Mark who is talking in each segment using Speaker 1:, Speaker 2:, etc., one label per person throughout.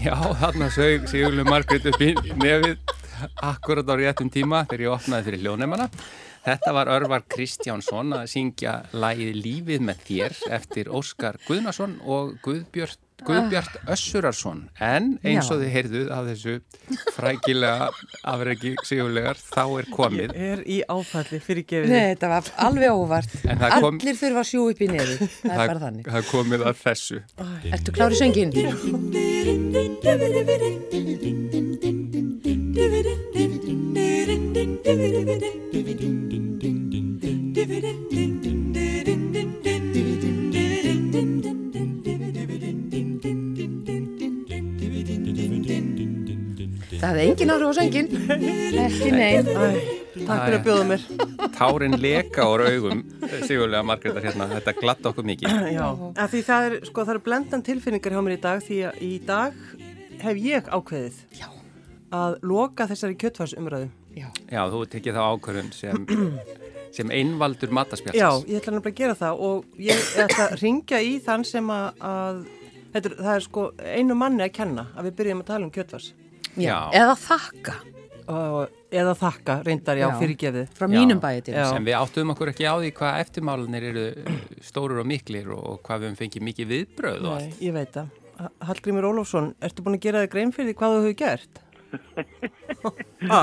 Speaker 1: Já, þarna sög Sigurlu Margrét upp í nefið akkurat á réttum tíma þegar ég opnaði fyrir hljóðnefana. Þetta var Örvar Kristjánsson að syngja lægið Lífið með þér eftir Óskar Guðnason og Guðbjörn Guðbjart Össurarsson en eins og
Speaker 2: Ah. Já.
Speaker 1: þið heyrðuð af þessu frækilega afregi sigurlegar þá er komið
Speaker 3: er í áfalli fyrir gefið.
Speaker 2: Nei, þetta var alveg óvart.
Speaker 1: En það kom-
Speaker 2: Allir þurfa að sjú upp í nefi. Það er bara þannig.
Speaker 1: það er komið að þessu
Speaker 2: Ertu klári söngin? Það hefði engin áhrif á söngin. Ekki neinn.
Speaker 3: Takk fyrir að bjóða mér.
Speaker 1: Tárin leka úr augum sigurlega Margrétar hérna, þetta glatt okkur mikið
Speaker 3: Já, af því það er, sko, það er blendan tilfinningar hjá mér í dag því að í dag hef ég ákveðið
Speaker 2: Já.
Speaker 3: að loka þessari kjötfarsumræðu.
Speaker 2: Já.
Speaker 1: Já, þú tekið það ákvörðun sem, sem einvaldur
Speaker 3: Já,
Speaker 1: mataspjallsins
Speaker 3: ég ætla nefnilega að gera það og ég ætla að ringja í þann sem að, að þetta, er- það er sko einu manni að kenna að við byrjum að tala um kjötvars
Speaker 2: Já.
Speaker 1: Já.
Speaker 2: Eða þakka
Speaker 3: og, eða þakka reyndar, já,
Speaker 2: Já.
Speaker 3: fyrirgefið.
Speaker 2: frá
Speaker 1: Já.
Speaker 2: mínum bæði til
Speaker 3: Já.
Speaker 2: þess.
Speaker 1: sem við áttuðum okkur ekki á því hvað eftirmálanir eru stórir og miklir og hvað við höfum fengið mikið viðbröð og
Speaker 3: Nei,
Speaker 1: allt
Speaker 3: ég veit það. Ha- Hallgrímur Ólofsson, ertu búin að gera þig grein fyrir því hvað þú hefur gert? ha,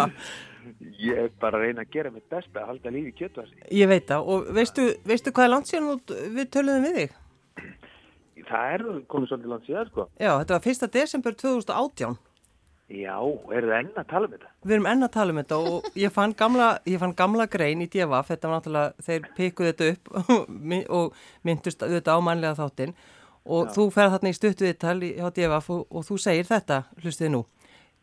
Speaker 4: Ég er bara að reyna að gera mitt besta að halda lífi í kjötvarsi.
Speaker 3: ég veit það og veistu, veistu hvað er langt síðan þú- við töluðum við þig?
Speaker 4: Það er komið svolítið langt síðan, sko.
Speaker 3: Já, þetta var 1. desember 2018.
Speaker 4: Já, eru þið enn að tala um þetta?
Speaker 3: Við erum enn að tala um þetta og ég fann gamla, ég fann gamla grein í DFF, þetta var náttúrulega, þeir pikkuð þetta upp mi- og myndust auðvitað á mannlega þáttinn og þú ferð þarna í stuttu viðtal í- hjá DFF og, og þú segir þetta, hlustið nú,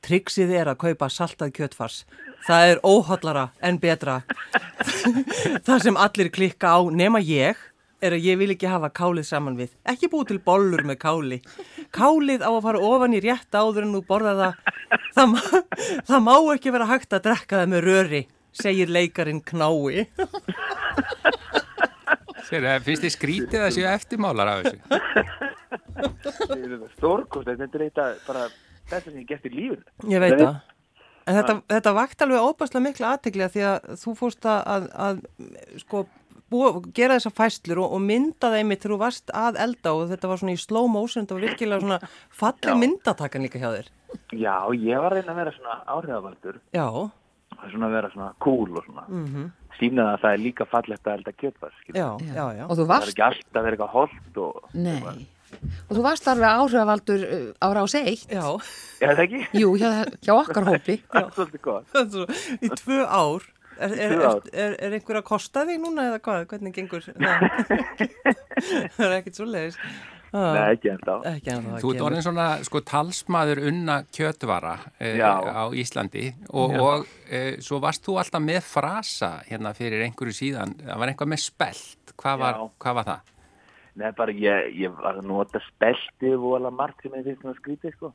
Speaker 3: triksið er að kaupa saltað kjötfars, það er óhóllara en betra, það sem allir klikka á nema ég er að ég vil ekki hafa kálið saman við. Ekki búið til bollur með káli. Kálið á að fara ofan í rétt áður en þú borða það. Það, má, það má ekki vera hægt að drekka það með röri, segir leikarin knái.
Speaker 1: Sér, eh, finnst þið skrítið að séu eftirmálar af þessu?
Speaker 4: Þið eru Stórkost, þetta er eitt að bara besta sem ég hef gert í lífinu.
Speaker 3: Ég veit það. En þetta, þetta vakt alveg óbærslega mikla aðteglega því að þú fórst að, að, að sko, búa, gera þessar fæslur og, og mynda þeim þegar þú varst að elda og þetta var svona í slow motion, þetta var virkilega svona falli myndatakan líka hjá þér.
Speaker 4: Já, ég var að reyna að vera svona áhrifavaldur,
Speaker 3: Já,
Speaker 4: svona að vera svona cool og svona. Mm Sýna það að það er líka fallegt að elda kjötvarsi.
Speaker 3: Mhm. já, já, já.
Speaker 2: Og þú
Speaker 4: Það er
Speaker 2: varst,
Speaker 4: ekki alltaf að vera eitthvað holdt og...
Speaker 2: nei, og þú varst alveg áhrifaldur uh, á rás eitt.
Speaker 3: Já,
Speaker 4: Er það ekki?
Speaker 2: Jú, hjá, hjá okkar hópi.
Speaker 4: Það er svolítið gott.
Speaker 3: Svo, í tvö ár. Er, er,
Speaker 4: tvö
Speaker 3: er,
Speaker 4: ár.
Speaker 3: er, er einhver að kosta þig núna eða hvað? Hvernig gengur? Það það er ekkert svo leiðis.
Speaker 4: Nei, ekki ennþá.
Speaker 3: Ekki hann það
Speaker 1: Þú ert orðin svona sko talsmaður unna kjötvara e,
Speaker 4: Já.
Speaker 1: á Íslandi og, og e, svo varst þú alltaf með frasa hérna fyrir einhverju síðan, það var eitthvað með spelt, hvað var,
Speaker 4: Já.
Speaker 1: hvað var það?
Speaker 4: Nei, bara ég, ég var að nota spelti og alveg margt sem ég finnst svona skrítið, sko.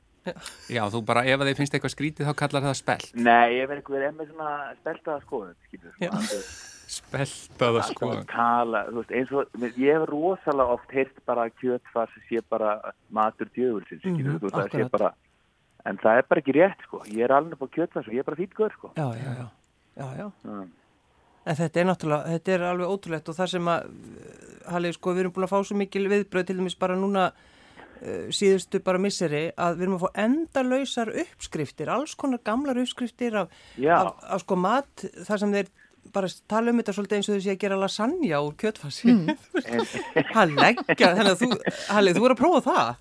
Speaker 1: Já, þú bara, ef að þið finnst eitthvað skrítið þá kallar það spelt.
Speaker 4: Nei, ég verð eitthvað verið með svona speltaða skoðun, skilur.
Speaker 3: Já.
Speaker 4: Svona, þú veist,
Speaker 1: Speltaða
Speaker 3: Sko.
Speaker 4: alltaf að sko. tala, þú veist, eins og ég hef rosalega oft heyrt bara að kjötfars sé bara matur djöfulsins, mm
Speaker 3: Mhm,
Speaker 4: þú veist, það sé
Speaker 3: akkurat.
Speaker 4: bara en það er bara ekki rétt, sko, ég er alveg på kjötfars og ég er bara fýtgur, sko
Speaker 3: Já, já, já. já, já.
Speaker 4: Mm.
Speaker 3: En þetta er náttúrulega, þetta er alveg ótrúlegt og það sem að, uh, Halli, sko, við erum búin að fá svo mikil viðbröð til dæmis bara núna uh, síðustu bara misseri að við erum að fá endalausar uppskriftir, alls konar gamlar uppskriftir af,
Speaker 4: Já.
Speaker 3: af, af sko mat, þar sem þeir bara tala um þetta svolítið eins og þessi að gera lasagna úr kjötfassi. Hann leggja, þannig að þú, Halli, þú er að prófa það.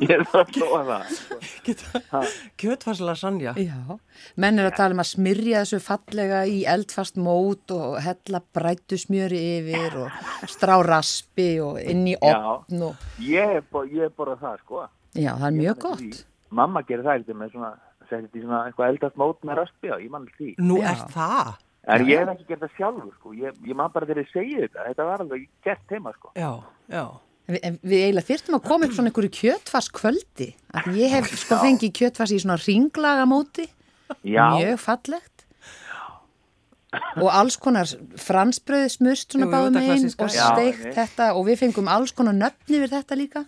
Speaker 4: ég er bara að prófa það sko.
Speaker 3: Geta- Kjötfass lasagna.
Speaker 2: Já, menn er að tala um að smyrja þessu fallega í eldfast mót og hella brættu smjöri yfir og strá raspi og inn í opn og
Speaker 4: ég hef bo- ég hef borðað það, sko
Speaker 2: já, það er
Speaker 4: Ég
Speaker 2: mjög
Speaker 4: man eftir
Speaker 2: gott.
Speaker 4: því. Mamma gerir það eitthvað með svona setti þetta í svona eitthvað eldast mót með raspi á, ég mann því
Speaker 3: Nú
Speaker 2: Já.
Speaker 3: er það.
Speaker 4: en ég hef ekki gert það sjálfur, sko ég, ég man bara þegar ég segi þetta, þetta var alveg gert heima, sko
Speaker 3: Já, já.
Speaker 2: En Við, en við eiginlega þyrftum að koma upp svona einhverju kjötfars kvöldi. Ég hef sko fengið kjötfars í svona ringlaga móti,
Speaker 4: já,
Speaker 2: mjög fallegt. Og alls konar fransbröði smurst svona
Speaker 3: Jú, jú,
Speaker 2: báðum
Speaker 3: þetta
Speaker 2: einn
Speaker 3: klassíska.
Speaker 2: og
Speaker 4: Já,
Speaker 2: steikt
Speaker 4: einmitt.
Speaker 2: þetta og við fengum alls konar nöfni við þetta líka.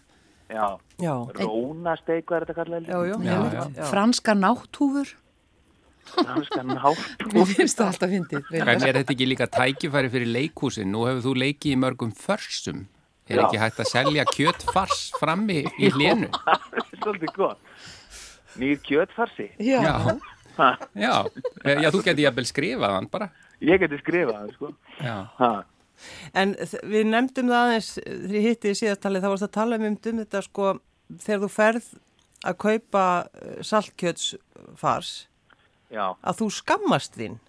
Speaker 4: já,
Speaker 3: Já,
Speaker 4: rónasteik, hvað er þetta kallað?
Speaker 3: já, já,
Speaker 1: Já,
Speaker 3: einmitt,
Speaker 1: já.
Speaker 3: já.
Speaker 2: franska nátthúfur
Speaker 4: Franska nátt.
Speaker 2: mér finnst það alltaf fyndið
Speaker 1: En
Speaker 2: reyndar.
Speaker 1: er þetta ekki líka tækifæri fyrir leikhúsin? Nú hefur þú leikið í mörgum försum. Er
Speaker 4: Já.
Speaker 1: ekki hægt að selja kjötfars frammi í hlénu?
Speaker 4: Svolítið gott. Nýr kjötfarsi.
Speaker 2: Já.
Speaker 1: Já. Já. Eh, Já, þú geti jafnvel skrifað hann bara.
Speaker 4: Ég geti skrifað það, sko.
Speaker 1: Já.
Speaker 4: Ha.
Speaker 3: En þ- við nefndum það aðeins, þegar ég hitti í síðastalið, þá varst að tala um, um þetta sko, þegar þú ferð að kaupa eh, saltkjötsfars,
Speaker 4: Já.
Speaker 3: að þú skammast þín.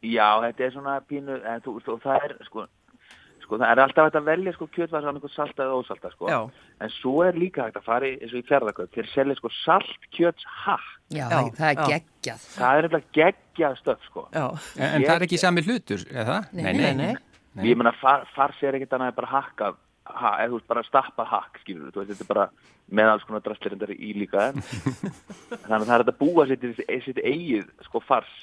Speaker 4: Já, þetta er svona pínu, en þú, þú, það er sko, sko, það er alltaf hægt að velja sko kjötvar svona eitthvað salta eða ósalta sko.
Speaker 3: Já.
Speaker 4: En svo er líka hægt að fara í, eins og í ferðarkaup, þeir selja sko saltkjötshakk.
Speaker 2: Já, það- það er
Speaker 3: Já.
Speaker 2: geggjað
Speaker 4: Það er eitthvað geggjað stöf sko.
Speaker 3: Já,
Speaker 1: En, en það er ekki sami hlutur, er það?
Speaker 2: Nei,
Speaker 3: nei, nei.
Speaker 4: Ég meina far, fars er ekkert annað en bara hakka, ha, eða þú veist bara stappa hakk, skilur þú veist, þetta er bara með alls konar drastlirindar í líka. en- Þannig að það er hægt að búa sitt, sitt eigið sko fars.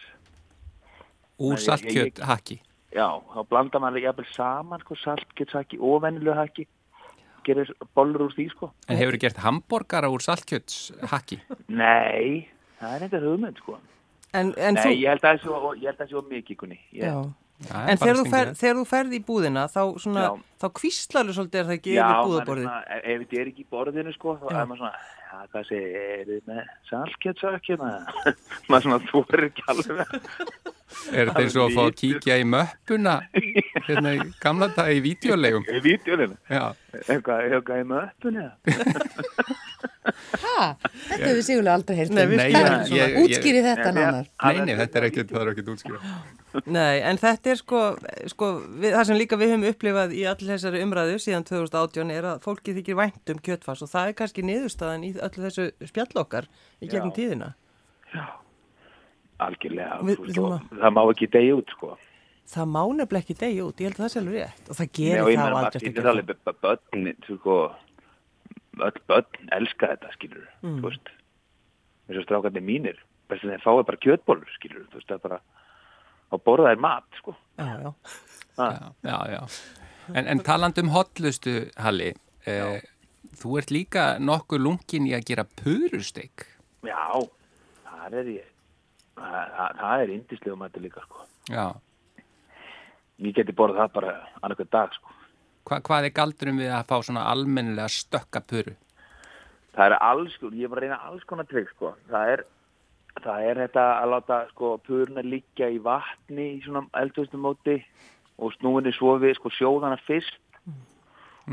Speaker 1: Úr
Speaker 4: Nei, ég-
Speaker 1: saltkjöt haki.
Speaker 4: Já, þá blandar maður jafnvel saman sko, saltkjötshaki og vennilega haki gerir bollur úr því sko
Speaker 1: En hefur gert hambúrgara úr saltkjöts haki?
Speaker 4: Nei, það er eitthvað hugmynd sko
Speaker 3: En, en
Speaker 4: Nei,
Speaker 3: þú,
Speaker 4: ég held að það sé of- ég held að það sé of mikið kunni
Speaker 3: já.
Speaker 4: ég,
Speaker 1: Það er bara
Speaker 3: En þegar þú, fer,
Speaker 1: stingilegt.
Speaker 3: þegar þú ferð í búðina, þá, svona,
Speaker 4: Já.
Speaker 3: þá kvíslarðu svolítið er það ekki
Speaker 4: Já,
Speaker 3: yfir
Speaker 4: maður er
Speaker 3: búðaborðið.
Speaker 4: svona, ef ef þetta er ekki í borðinu sko þá
Speaker 3: Já.
Speaker 4: er maður svona, já, hvað segir er þið með saltkjötshaki maður Maður svona þorir ekki alveg
Speaker 1: Er þetta eins og að fá að kíkja í möppuna hérna í gamla dag í vídeolegum?
Speaker 4: í vítjólinu,
Speaker 1: Já.
Speaker 4: eitthvað, eitthvað í möttunni
Speaker 2: ha, þetta hefur sigurlega aldrei heyrt
Speaker 3: Nei,
Speaker 2: um.
Speaker 1: Nei, ég, ég,
Speaker 2: útskýri
Speaker 1: ég,
Speaker 2: þetta nánar
Speaker 1: nei, nei, þetta er ekkert, það er ekkert útskýra.
Speaker 3: Nei, en þetta er sko, sko við, það sem líka við höfum upplifað í all þessari umræðu síðan 2018 er að fólki þykir vænt um kjötfars og það er kannski niðurstaðan í öllu þessu spjall okkar í gegnum
Speaker 4: Já.
Speaker 3: tíðina.
Speaker 4: Algjörlega,
Speaker 3: Við-
Speaker 4: þú veist,
Speaker 3: við-
Speaker 4: og það má ekki degja út sko
Speaker 3: Það má nefnilega ekki degi út, ég held að það sé alveg rétt og það
Speaker 4: Nei,
Speaker 3: gerir
Speaker 4: og
Speaker 3: það á
Speaker 4: ég meina maður
Speaker 3: aldrei
Speaker 4: skilur alveg b- börn, sko, öll börn elska þetta, skilur, þú veist. Þessu strákandi mínir, best að þeir fái bara kjötbólur, skilur, þú veist, það er bara, og borða þeir mat, sko.
Speaker 3: Já, já.
Speaker 1: Já, já, já. En, en taland um hotlustu, Halli, eh, þú ert líka nokkuð lungin í að gera purusteik.
Speaker 4: Já, það er ég, það, það- það er indislega mæti líka, sko.
Speaker 1: Já.
Speaker 4: Ég geti borðað það bara annarkvæð dag, sko.
Speaker 1: Hva, hvað er galdurum við að fá svona almennilega stökka puru?
Speaker 4: Það er alls, sko, ég var að reyna alls konar trygg, sko. Það er, það er þetta að láta, sko, puruna liggja í vatni í svona eldhustum móti og snúinni svo við, sko, sjóðana fyrst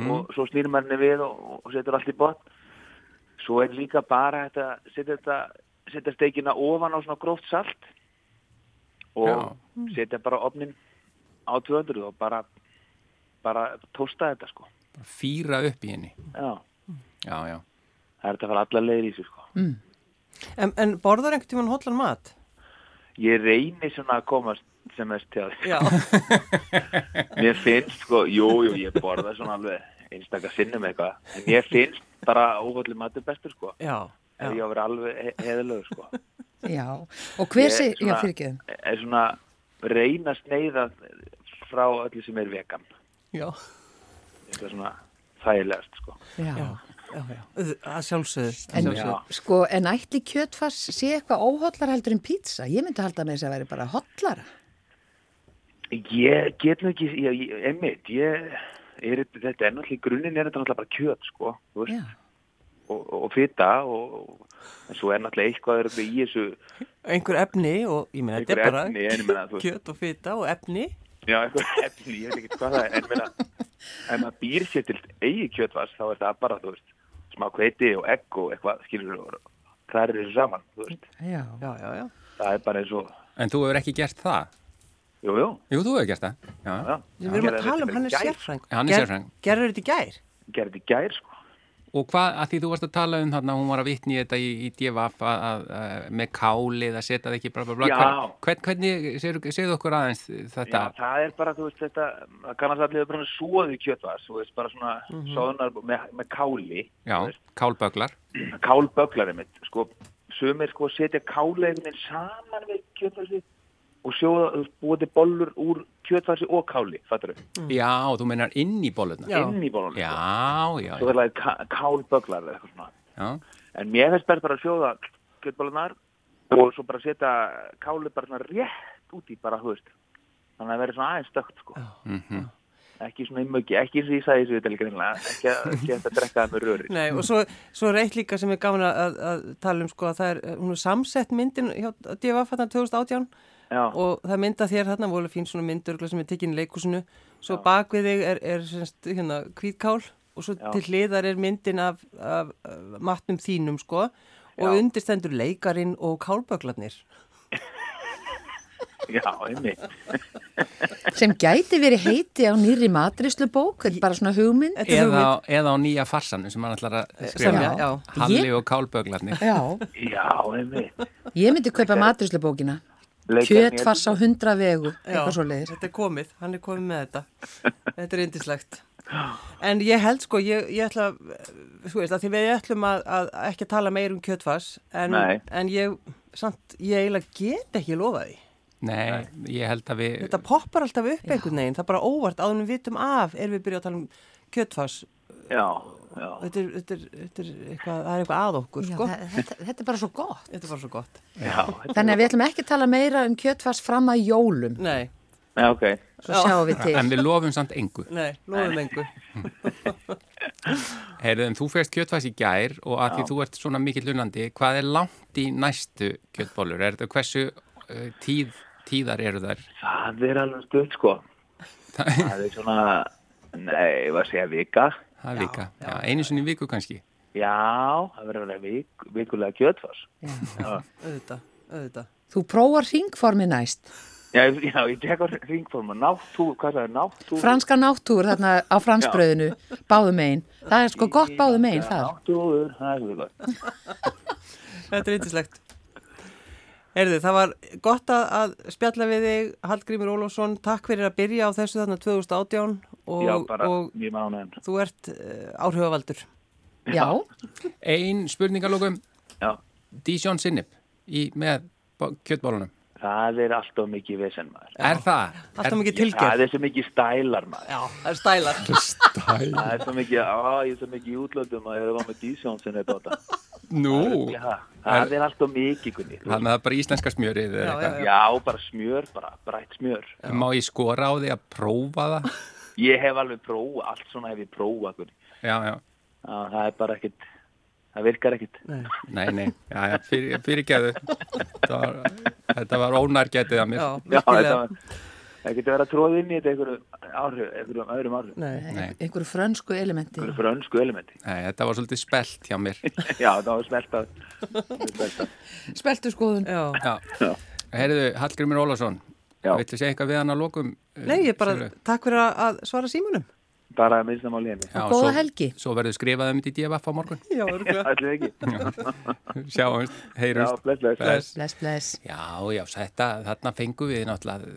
Speaker 4: og svo snýr maður henni við og, og setur allt í botn. Svo er líka bara þetta, setja þetta, setja steikina ofan á svona gróft salt og
Speaker 1: Já.
Speaker 4: setja bara opnin á 200 og bara, bara tósta þetta, sko.
Speaker 1: Fýra upp í henni.
Speaker 4: Já,
Speaker 1: Já, já.
Speaker 4: það er þetta að fara allar leiðir í þessu, sko.
Speaker 3: En, en borðar einhvern tíman hotlan mat?
Speaker 4: Ég reyni svona að komast sem mest til að
Speaker 3: Já.
Speaker 4: mér finnst sko, jú, jú, ég borða svona alveg einstakar sinnum eitthvað, en ég finnst bara óhaldið matur bestur sko,
Speaker 3: já,
Speaker 4: ef ég á
Speaker 3: já.
Speaker 4: að vera alveg he heðalögur sko.
Speaker 2: já, og hver
Speaker 4: Ég
Speaker 2: sé, já,
Speaker 4: svona-
Speaker 2: fyrirgeðum
Speaker 4: Er svona reyna að sneiða frá öllu sem er vegan,
Speaker 3: Já,
Speaker 4: þetta er svona þægilegast sko.
Speaker 3: já,
Speaker 2: já
Speaker 3: já, já. Að sjálfsögðu. að
Speaker 2: En,
Speaker 3: sjálfsögðu.
Speaker 2: sko, en ætli kjötfars sé eitthvað óhóllar heldur en pizza? Ég myndi halda með þess að væri bara hóllara.
Speaker 4: Ég get nú ekki, ég, ég, einmitt, ég er, þetta er náttúrulega, í grunninn er þetta náttúrulega bara kjöt sko, þú veist,
Speaker 2: Já,
Speaker 4: og, og fita og, og en svo er náttúrulega eitthvað er í þessu
Speaker 3: Einhver efni og ég meina, þetta
Speaker 4: einhver
Speaker 3: er bara
Speaker 4: efni, en ég meina, þú veist,
Speaker 3: kjöt og fita og efni.
Speaker 4: já, einhver efni, ég veit ekki hvað það er, en ég meina, ef maður býr sér til eigi kjötvars, þá er það bara, þú veist, smá kveiti og egg og eitthvað, skilur þú, og hrærir þessu saman, þú veist,
Speaker 2: já.
Speaker 3: Já, já, já.
Speaker 4: það er bara eins og,
Speaker 1: En þú hefur ekki gert það?
Speaker 4: jú, jú,
Speaker 1: Jú, þú hefur gert það. Já,
Speaker 4: já.
Speaker 3: Við erum að
Speaker 4: Gerði
Speaker 3: tala um
Speaker 4: þetta
Speaker 3: hann er
Speaker 4: í gær,
Speaker 3: sérfræng.
Speaker 1: Hann er sérfræðingur.
Speaker 3: Gerður þetta í gær?
Speaker 4: Gerði þetta í gær, sko,
Speaker 1: Og hvað, að því þú varst að tala um þarna, hún var að vitni í þetta í, í DFF að, að, að, með kálið að setja það ekki bla bla bla.
Speaker 4: Já.
Speaker 1: Hvern, hvernig, segðu segðu okkur aðeins
Speaker 4: Já,
Speaker 1: þetta?
Speaker 4: það er bara, þú veist, þetta, það kannast allir bara svoði kjötvars, þú veist, bara svona mm
Speaker 3: Mhm.
Speaker 4: með, með káli,
Speaker 1: Já,
Speaker 4: þú veist.
Speaker 1: kálböglar.
Speaker 4: kálböglarið mitt sko, sumir sko setja kála einhvern veginn saman við kjötfarsi og sjóða, þú veist, búið til bollur úr kjötfarsi og káli, fattur þau?
Speaker 1: Já, þú meinar inn í bólurna.
Speaker 3: Já.
Speaker 4: Inn í bollunum. sko.
Speaker 1: já, já.
Speaker 4: Svo verður það kálböglar eða eitthvað svona.
Speaker 1: já.
Speaker 4: En mér finnst bara bara að sjóða kjötbollunar og svo bara setja kálið bara svona rétt út í bara, þú veist. Þannig að það verður svona aðeins stökt, sko.
Speaker 1: mhm.
Speaker 4: Ekki svona í möggi, ekki eins og ég sagði þessu við telgrinlega, ekki að ekki hægt að drekka það með röri.
Speaker 3: Nei, og svo, svo er eitt líka sem er gaman að, að tala um sko að það er, hún er samsett myndin hjá DFF þarna 2018
Speaker 4: Já,
Speaker 3: og það mynda þér þarna voru fín svona myndur örugglega sem er tekinn í leikusinu, svo bak við þig er, er semst, hérna, kvítkál og svo
Speaker 4: Já.
Speaker 3: til hliðar er myndin af, af, af matnum þínum sko og
Speaker 4: Já.
Speaker 3: undirstendur leikarin og kálböglarnir.
Speaker 4: já, einmitt.
Speaker 2: sem gæti verið heiti á nýri matrislu bók, bara svona hugmynd.
Speaker 3: Þetta er
Speaker 1: Eða,
Speaker 3: hugmynd.
Speaker 1: á- eða á nýja farsanu sem hann ætlar að skrifa.
Speaker 3: Semja, já.
Speaker 1: Halli og kálböglarnir.
Speaker 2: Já,
Speaker 4: Já, einmitt.
Speaker 2: ég myndi kaupa matrislu bókina.
Speaker 4: Leikarnir-
Speaker 2: Kjötfars á hundra vegu, eitthvað svo leiðis.
Speaker 3: Þetta er komið, hann er komið með þetta. Þetta er indislegt. En ég held sko, ég, ég ætla, að- þú veist, að því við ætlum að, að ekki tala meir um kjötfars, en,
Speaker 4: Nei.
Speaker 3: en ég, samt, ég eiginlega get ekki lofa því.
Speaker 1: Nei, ég held að við...
Speaker 3: Þetta poppar alltaf upp einhvern veginn, það er bara óvart, áðunum vitum af er við byrjað að tala um kjötfars.
Speaker 4: Já, já.
Speaker 3: Þetta er, þetta er, þetta er eitthvað, það er eitthvað að okkur,
Speaker 2: Já,
Speaker 3: sko.
Speaker 2: þa- þetta, þetta er bara svo gott.
Speaker 3: Þetta var svo gott.
Speaker 4: Já,
Speaker 2: Þannig að við ætlum ekki að tala meira um kjötfars fram að jólum.
Speaker 3: Nei,
Speaker 4: já, ok.
Speaker 2: Svo
Speaker 3: Já.
Speaker 2: sjáum við
Speaker 1: En
Speaker 2: til.
Speaker 1: við lofum samt engu.
Speaker 3: nei, lofum engu.
Speaker 1: Heyrðu, en þú fegst kjötfæs í gær og að því þú ert svona mikill unandi, hvað er langt í næstu kjötbólur? Er þetta hversu uh, tíð, tíðar eru þær?
Speaker 4: Það er alveg stöld, sko. Það er svona, nei, hvað segja, vika.
Speaker 1: Það er vika. Já, einu sinni í viku kannski.
Speaker 4: Já, það verður að vera vik, vikulega kjötfars.
Speaker 3: Auðvitað, auðvitað.
Speaker 2: Þú prófar ringformi næst.
Speaker 4: Já, ég- já, ég tek á ringforma, náttú, hvað það er náttú?
Speaker 2: Franska náttúr þarna á fransbröðinu, báðum einn. Það er sko gott báðum einn þar.
Speaker 4: Náttúður, það er svo gott.
Speaker 3: Þetta er yndislegt. Erðu, það var gott að, að spjalla við þig, Hallgrímur Ólofsson, takk fyrir að byrja á þessu þarna 2018 og,
Speaker 4: Já, bara
Speaker 3: og
Speaker 4: mjög mánuðin.
Speaker 3: þú ert uh, áhrifavaldur.
Speaker 2: Já,
Speaker 1: Ein spurningalókum,
Speaker 4: Já,
Speaker 1: Dijon Sinnip í, með bó- kjötbólunum.
Speaker 4: það er alltaf mikið vesen maður.
Speaker 1: Er það?
Speaker 3: Alltaf mikið
Speaker 4: Það
Speaker 3: tilgerð.
Speaker 4: er svo mikið stælar maður.
Speaker 3: Já, það er stælar.
Speaker 4: Það er svo mikið, á, ég er svo mikið í útlöndum að ég er að vera með dísjón sem þetta á þetta.
Speaker 1: Nú,
Speaker 4: Það er alltaf mikið, Gunni.
Speaker 1: þannig að það er bara íslenska smjörið eða
Speaker 3: Já,
Speaker 1: eitthvað.
Speaker 4: Já, bara smjör, bara brætt smjör.
Speaker 1: Má ég skora á því að prófa það?
Speaker 4: Ég hef alveg prófa, allt svona hef ég prófa, Gunni.
Speaker 1: Já, já.
Speaker 4: Já, það er bara ekkit, það virkar ekkit.
Speaker 1: Nei, nei, já, já, fyrir, fyrirgeðu. Þetta var, þetta var ónærgetið að mér.
Speaker 3: Já,
Speaker 4: Já, þetta
Speaker 3: virkilega.
Speaker 4: var, það getur verið að tróða inn í þetta einhverjum áhrif, einhverjum öðrum áhrif.
Speaker 3: Nei,
Speaker 1: Nei.
Speaker 2: einhverju frönsku elementi.
Speaker 4: Einhverjum frönsku elementi.
Speaker 1: Nei, þetta var svolítið spelt hjá mér.
Speaker 4: Já, það var smeltað. smeltað.
Speaker 2: Speltu skoðun.
Speaker 3: já.
Speaker 1: Já. Herðu, Hallgrimur Ólásson,
Speaker 4: Já.
Speaker 1: villu segja eitthvað við hann að lokum? eh,
Speaker 3: Nei, ég bara,
Speaker 1: Silvia?
Speaker 3: takk fyrir að- að svara símunum.
Speaker 4: Bara að minnst það máli henni.
Speaker 1: Já,
Speaker 2: góða
Speaker 1: svo-
Speaker 2: helgi.
Speaker 1: Svo verður skrifað um þetta í DFF á morgun.
Speaker 3: Já, örgulega.
Speaker 4: Ætlið ekki.
Speaker 1: Sjáumst,
Speaker 4: Já,
Speaker 1: heyrumst.
Speaker 4: bless, bless. bless.
Speaker 2: Bless, bless.
Speaker 1: Já, já, þetta, þarna fengum við náttúrulega,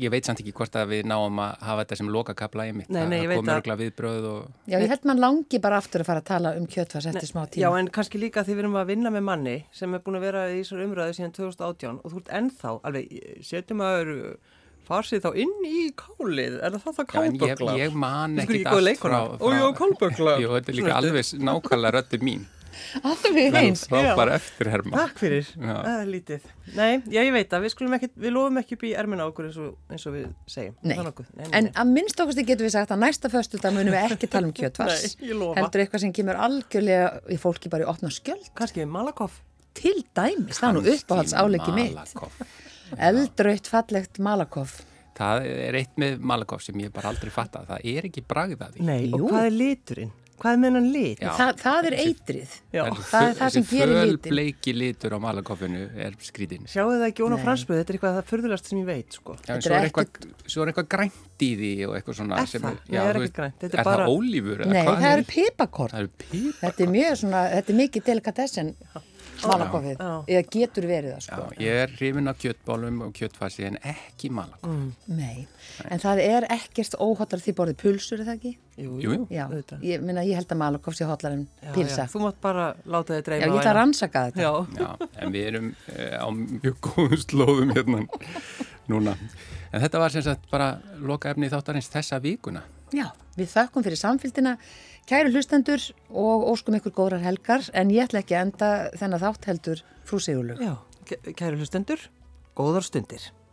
Speaker 1: ég veit samt ekki hvort að við náum að hafa þetta sem lokakabla í mitt.
Speaker 3: Nei, nei, ég veit
Speaker 1: það.
Speaker 3: að-
Speaker 1: Það komur viðbröð og,
Speaker 2: Já, ég held mann langi bara aftur að fara að tala um kjötfars eftir smá
Speaker 3: Já,
Speaker 2: tíma.
Speaker 3: en kannski líka því við erum að vinna með manni sem er búin að vera í þessar umræðu síðan 2018 og þú ert ennþá, alveg, setjum að eru farsið þá inn í kálið, er það þá það
Speaker 1: Já, en ég,
Speaker 3: kálböglar?
Speaker 1: ég man
Speaker 3: Þú skur
Speaker 1: ekki
Speaker 3: ekki góð leikona. Ó, já, kálböglar.
Speaker 1: Jú, þetta er líka alveg nákvæmlega röddi mín.
Speaker 2: Alveg eins.
Speaker 1: Frábær eftirherma.
Speaker 3: Takk fyrir, það er lítið. Nei, já, ég veit að við skulum ekki, við lofum ekki upp í ermina á okkur eins og, eins og við segjum.
Speaker 2: Nei.
Speaker 3: Það er nokkuð. nei, nei,
Speaker 2: En
Speaker 3: nei.
Speaker 2: að minnst okkur getum við sagt að næsta föstu dag munum við ekki tala um kjötvars.
Speaker 3: Nei, ég lofa.
Speaker 2: Heldur eitthvað sem kemur algjörlega í fólki bara í opna skjöld.
Speaker 3: Kannski við Malakoff.
Speaker 2: Til dæmis, það er nú uppáhalds álegi mitt.
Speaker 1: Malakoff.
Speaker 2: Eldraut fallegt malakoff.
Speaker 1: Það er eitt með Malakoff sem ég bara aldrei fatta. Það er ekki bragðaði.
Speaker 3: Nei,
Speaker 2: Jú.
Speaker 3: og hvað er liturinn? Hvað er með hennan lit?
Speaker 1: Já.
Speaker 2: Þa, það er eitrið.
Speaker 3: Já.
Speaker 2: það er það sem gerir litinn.
Speaker 1: Þessi fölbleiki litur á Malakoffinu er skrítinn.
Speaker 3: Sjáu það ekki ón á fransbröð, þetta er eitthvað það fyrðulegast sem ég veit, sko.
Speaker 1: Já, en
Speaker 2: Þetta
Speaker 1: svo er
Speaker 2: er
Speaker 1: eitthvað, svo er eitthvað grænt í því og eitthvað svona
Speaker 3: Er
Speaker 1: sem
Speaker 3: það?
Speaker 1: já,
Speaker 3: Nei,
Speaker 1: þú
Speaker 3: það er ekkert
Speaker 1: veist,
Speaker 3: grænt. Þetta er
Speaker 1: Er
Speaker 3: bara-
Speaker 1: það ólífur? eða
Speaker 2: Nei,
Speaker 1: hvað
Speaker 2: það eru
Speaker 1: er-
Speaker 2: pipakorn.
Speaker 1: Það eru píp.
Speaker 2: Þetta er mjög svona, þetta er mikið delikatessin Malakoffið,
Speaker 3: Já.
Speaker 2: eða getur verið það
Speaker 1: Já,
Speaker 2: sko.
Speaker 1: ég er hrifin af kjötbólum og kjötfasi en ekki malakoff.
Speaker 2: Nei, en það er ekkert óhotlar því borðið pulsur, er það ekki?
Speaker 3: Jú,
Speaker 1: Jú, jú.
Speaker 2: Já,
Speaker 3: Auðvitað.
Speaker 2: ég, minna, ég held að malakoff sé hotlar en
Speaker 3: Já,
Speaker 2: pilsa.
Speaker 3: já, Þú mátt bara láta þið
Speaker 2: Já,
Speaker 3: dreima
Speaker 2: ég ætla að rannsaka þetta.
Speaker 3: Já,
Speaker 1: Já, en við erum uh, á mjög góðum slóðum hérna núna. En þetta var sem sagt bara loka efni þáttarins þessa vikuna.
Speaker 2: Já, við þökkum fyrir samfélgina, kæru hlustendur og óskum ykkur góðrar helgar en ég ætla ekki að enda þennan þátt heldur frú Sigurlug.
Speaker 3: já. Kæru hlustendur, góðar stundir.